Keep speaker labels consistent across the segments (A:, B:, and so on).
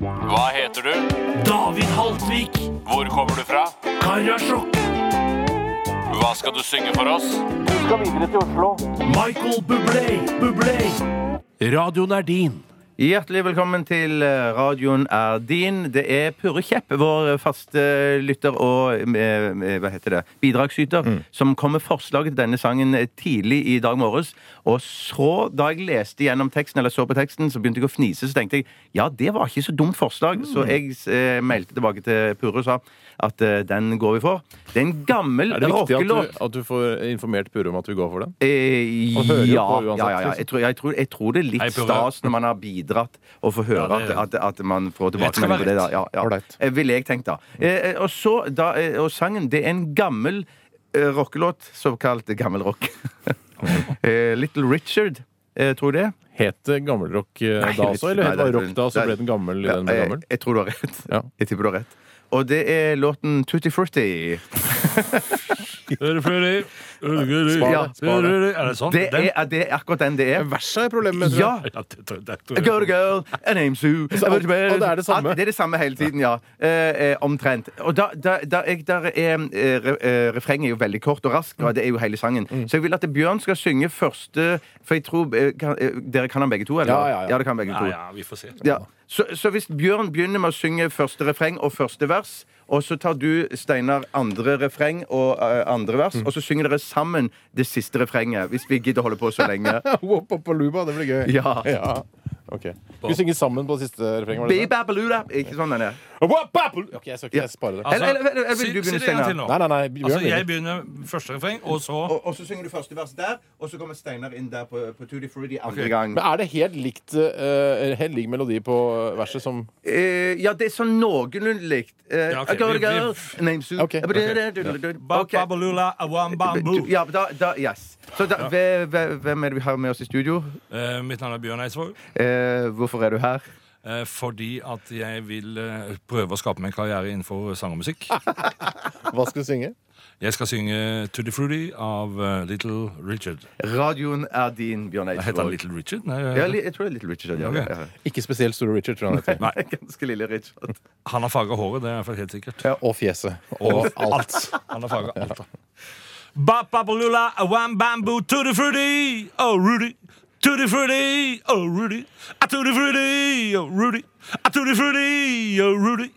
A: Hva heter du?
B: David Haltvik,
A: Hvor kommer du fra?
B: Karasjok,
A: Hva skal du synge for oss?
B: Michael Bublé, Bublé. Radioen er din.
C: Hjertelig velkommen til eh, radioen er din. Det er Purre Kjepp, vår faste lytter og eh, eh, hva heter det, bidragsyter,
D: Mm.
C: som kom med forslaget til denne sangen eh, tidlig i dag morges. Og så, da jeg leste gjennom teksten, eller så på teksten, så begynte jeg å fnise. Så tenkte jeg ja, det var ikke så dumt forslag.
D: Mm.
C: Så jeg eh, meldte tilbake til Purre og sa at eh, den går vi for. Det er en gammel
D: Er det viktig at
C: rockelåt.
D: du, at du får informert Purre om at vi går for den?
C: Eh,
D: Og hører jo
C: ja,
D: på
C: ja,
D: uansett,
C: ja, ja.
D: liksom.
C: Jeg, tror, jeg, tror, jeg tror det er litt
E: Hei, Purre.
C: stas når man har bidratt, å få høre
E: Ja, det er-
C: at, at, at man får
E: Rett skal
C: tilbakemelding
E: være
C: på det. Da.
E: rett.
C: Ja, ja.
D: Ålreit.
C: Eh, Ville jeg tenkt, da. Eh, eh, og, så, da eh, og sangen Det er en gammel eh, rockelåt, såkalt gammel rock. eh, Little Richard, eh, tror jeg det. er.
D: Het det gammelrock eh,
C: Nei,
D: da
C: jeg vet
D: også,
C: ikke.
D: eller het det
C: Nei,
D: bare
C: det-
D: rock da, så
C: det-
D: ble den gammel? i
C: Ja,
D: den ble
C: jeg,
D: gammel?
C: Eh, jeg tror du har rett.
D: Ja.
C: Jeg tipper du har rett. Og det er låten Tutti Frutti.
E: Hører flere.
D: Spar
C: Ja.
D: det. Spar det.
E: Er det sånn?
C: Det
E: Den?
C: er, det er akkurat den det er.
D: Verset er problemet med, tror
C: Ja!
D: jeg.
E: Ja, det, det, det,
C: A Girl, a girl, a name Sue.
D: og det er det samme?
C: At det er det samme hele tiden, ja. Eh, eh, omtrent. Og da, da, da jeg, der er eh, re, eh, Refrenget er jo veldig kort og raskt,
D: Mm.
C: og det er jo hele sangen. Så jeg vil at Bjørn skal synge første For jeg tror eh, kan, eh, Dere kan han begge to, eller?
D: Ja, ja, ja.
C: det kan begge
E: Ja,
C: to.
E: ja, vi får se.
C: Ja. Så, så hvis Bjørn begynner med å synge første refreng og første vers, og så tar du, Steinar, andre refreng og eh, andre vers,
D: Mm.
C: og så synger dere sammen det siste refrenget. Hvis vi gidder å holde på så lenge.
D: Wop, wop, luba, det blir gøy.
C: Ja.
D: Ok. Skal vi synge sammen på siste refrenget? var det
C: Be babaluda. Ikke sånn den er.
D: det? Wop, wop, lu- Ok, jeg skal ikke jeg sparer det.
E: Altså,
C: Eller- eller- eller vil
E: si-
C: du begynne,
E: si det en gang til nå.
D: Nei, nei, nei. Bjørn
E: Altså, jeg
D: begynner.
E: begynner første refreng, og så
C: Og, og så synger du første vers der, og så kommer Steinar inn der på, på Tutti Frutti andre gang.
D: Men er det helt likt eh, Helt lik melodi på verset som
C: Eh, ja, det er sånn noenlunde likt. Eh,
E: Ja, ok,
C: I got a
E: vi-
C: girl,
E: vi-
C: name's Sue.
D: Ok,
C: Eh,
D: ok.
E: Ba-
C: ok.
E: Babalula, awam, bambu.
C: Ja, da, da, yes. Så da, hve- hve- hvem er det vi har med oss i studio?
E: Eh, mitt navn er Bjørn Eidsvåg.
C: Eh, hvorfor er du her?
E: eh, fordi at jeg vil eh, prøve å skape meg en karriere innenfor sang og musikk.
D: Hva skal du synge?
E: Jeg skal synge Tutti Frutti av eh, Little Richard.
C: Radioen er din, Bjørn
E: Heter han
C: Eidsvåg.
E: Little Richard? Nei, eh,
C: Ja, li, jeg tror det er Little Richard. Ja,
E: Ok.
C: ja, ja.
D: Ikke spesielt Store Richard, tror jeg han heter.
C: Ganske lille Richard.
E: han har farga håret, det er i hvert fall helt sikkert.
D: Ja, Og fjeset. Og
E: Og
D: alt.
E: alt. Han har farga alt. da. Ba, ba, ba, lula, awam, bambu, Tutti Frutti, oh Rudy. Tutti Frutti, oh Rudy. Ah, Tutti Frutti, oh Rudy. Ah, Tutti Frutti, oh Rudy.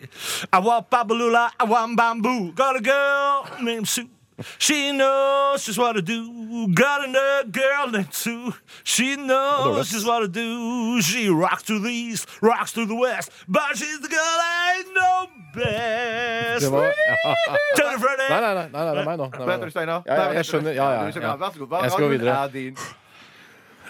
E: I want babalula, I want bamboo. Got a girl named Sue. She knows just what to do. Got another girl named Sue. She knows just what to do. She rocks to the east, rocks to the west. But she's the girl I know best.
D: Det var, ja.
E: Tutti Frutti.
D: Nei, nei, nei, nei, det er meg nå. Det er
C: Hva
D: meg
C: heter
D: nå.
C: du, Steinar?
D: Ja, ja, jeg skjønner. Ja, ja,
C: Du skjønner.
D: ja.
C: Vær så god. Hva-
D: Jeg skal gå
C: radioen
D: videre.
C: er din.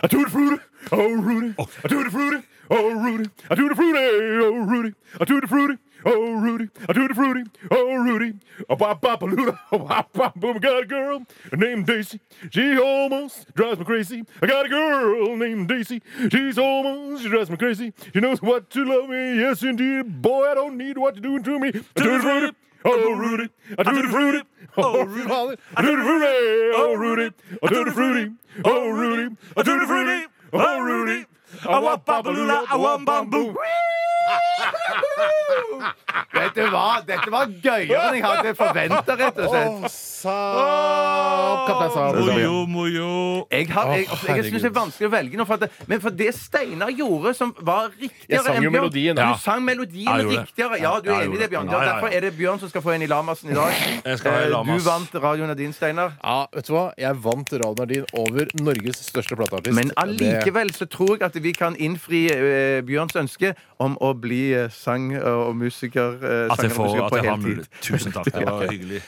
D: I do the fruity, oh Rudy. I do the fruity, oh Rudy. I do the fruity, oh Rudy. I do the fruity, oh Rudy. I do the fruity, oh Rudy. A bop bop a luda, a bop bop boom. I got a girl named Daisy. She almost drives me crazy. I got a girl named Daisy. She's almost she drives me crazy. She knows what to love me. Yes, indeed, boy, I don't need what you're doing to me. I do the fruity. Oh Rudy, I do the fruity, oh Rudy, I do the fruity, oh Rudy, I do the fruity, oh Rudy, I do the fruity, oh Rudy, I want babalula, I want bamboo.
C: Dette var, dette var gøyere enn jeg hadde forventa, rett og slett.
D: Saab, kaptein Saab.
E: Mojo, mojo.
C: Jeg, har, jeg, altså,
D: Åh,
C: jeg synes det er
D: herregud.
C: vanskelig å velge nå, for at, men for det Steinar gjorde, som var riktigere
D: Jeg sang jo
C: enn Bjørn-
D: melodien,
E: ja.
C: Du sang melodien
E: Jeg gjorde det.
C: riktigere. Ja, du
E: Ja,
C: er
E: jeg
C: enig i
E: gjorde
C: det, Bjørn.
E: det. Ja, ja, ja.
C: Derfor er det Bjørn som skal få en i Lamassen i dag.
E: Jeg skal ha en
C: Eh,
E: Lamas.
C: Du vant radioen av din, Steinar.
D: Ja, vet du hva? Jeg vant Ravnardin over Norges største plateartist.
C: Men allikevel så tror jeg at vi kan innfri eh, Bjørns ønske om å bli eh, sang- og musiker, eh,
E: At jeg,
C: sanger og
E: får,
C: musiker eh,
E: at
C: på
E: jeg har
C: heltid.
E: mulighet. Tusen takk. Det var hyggelig.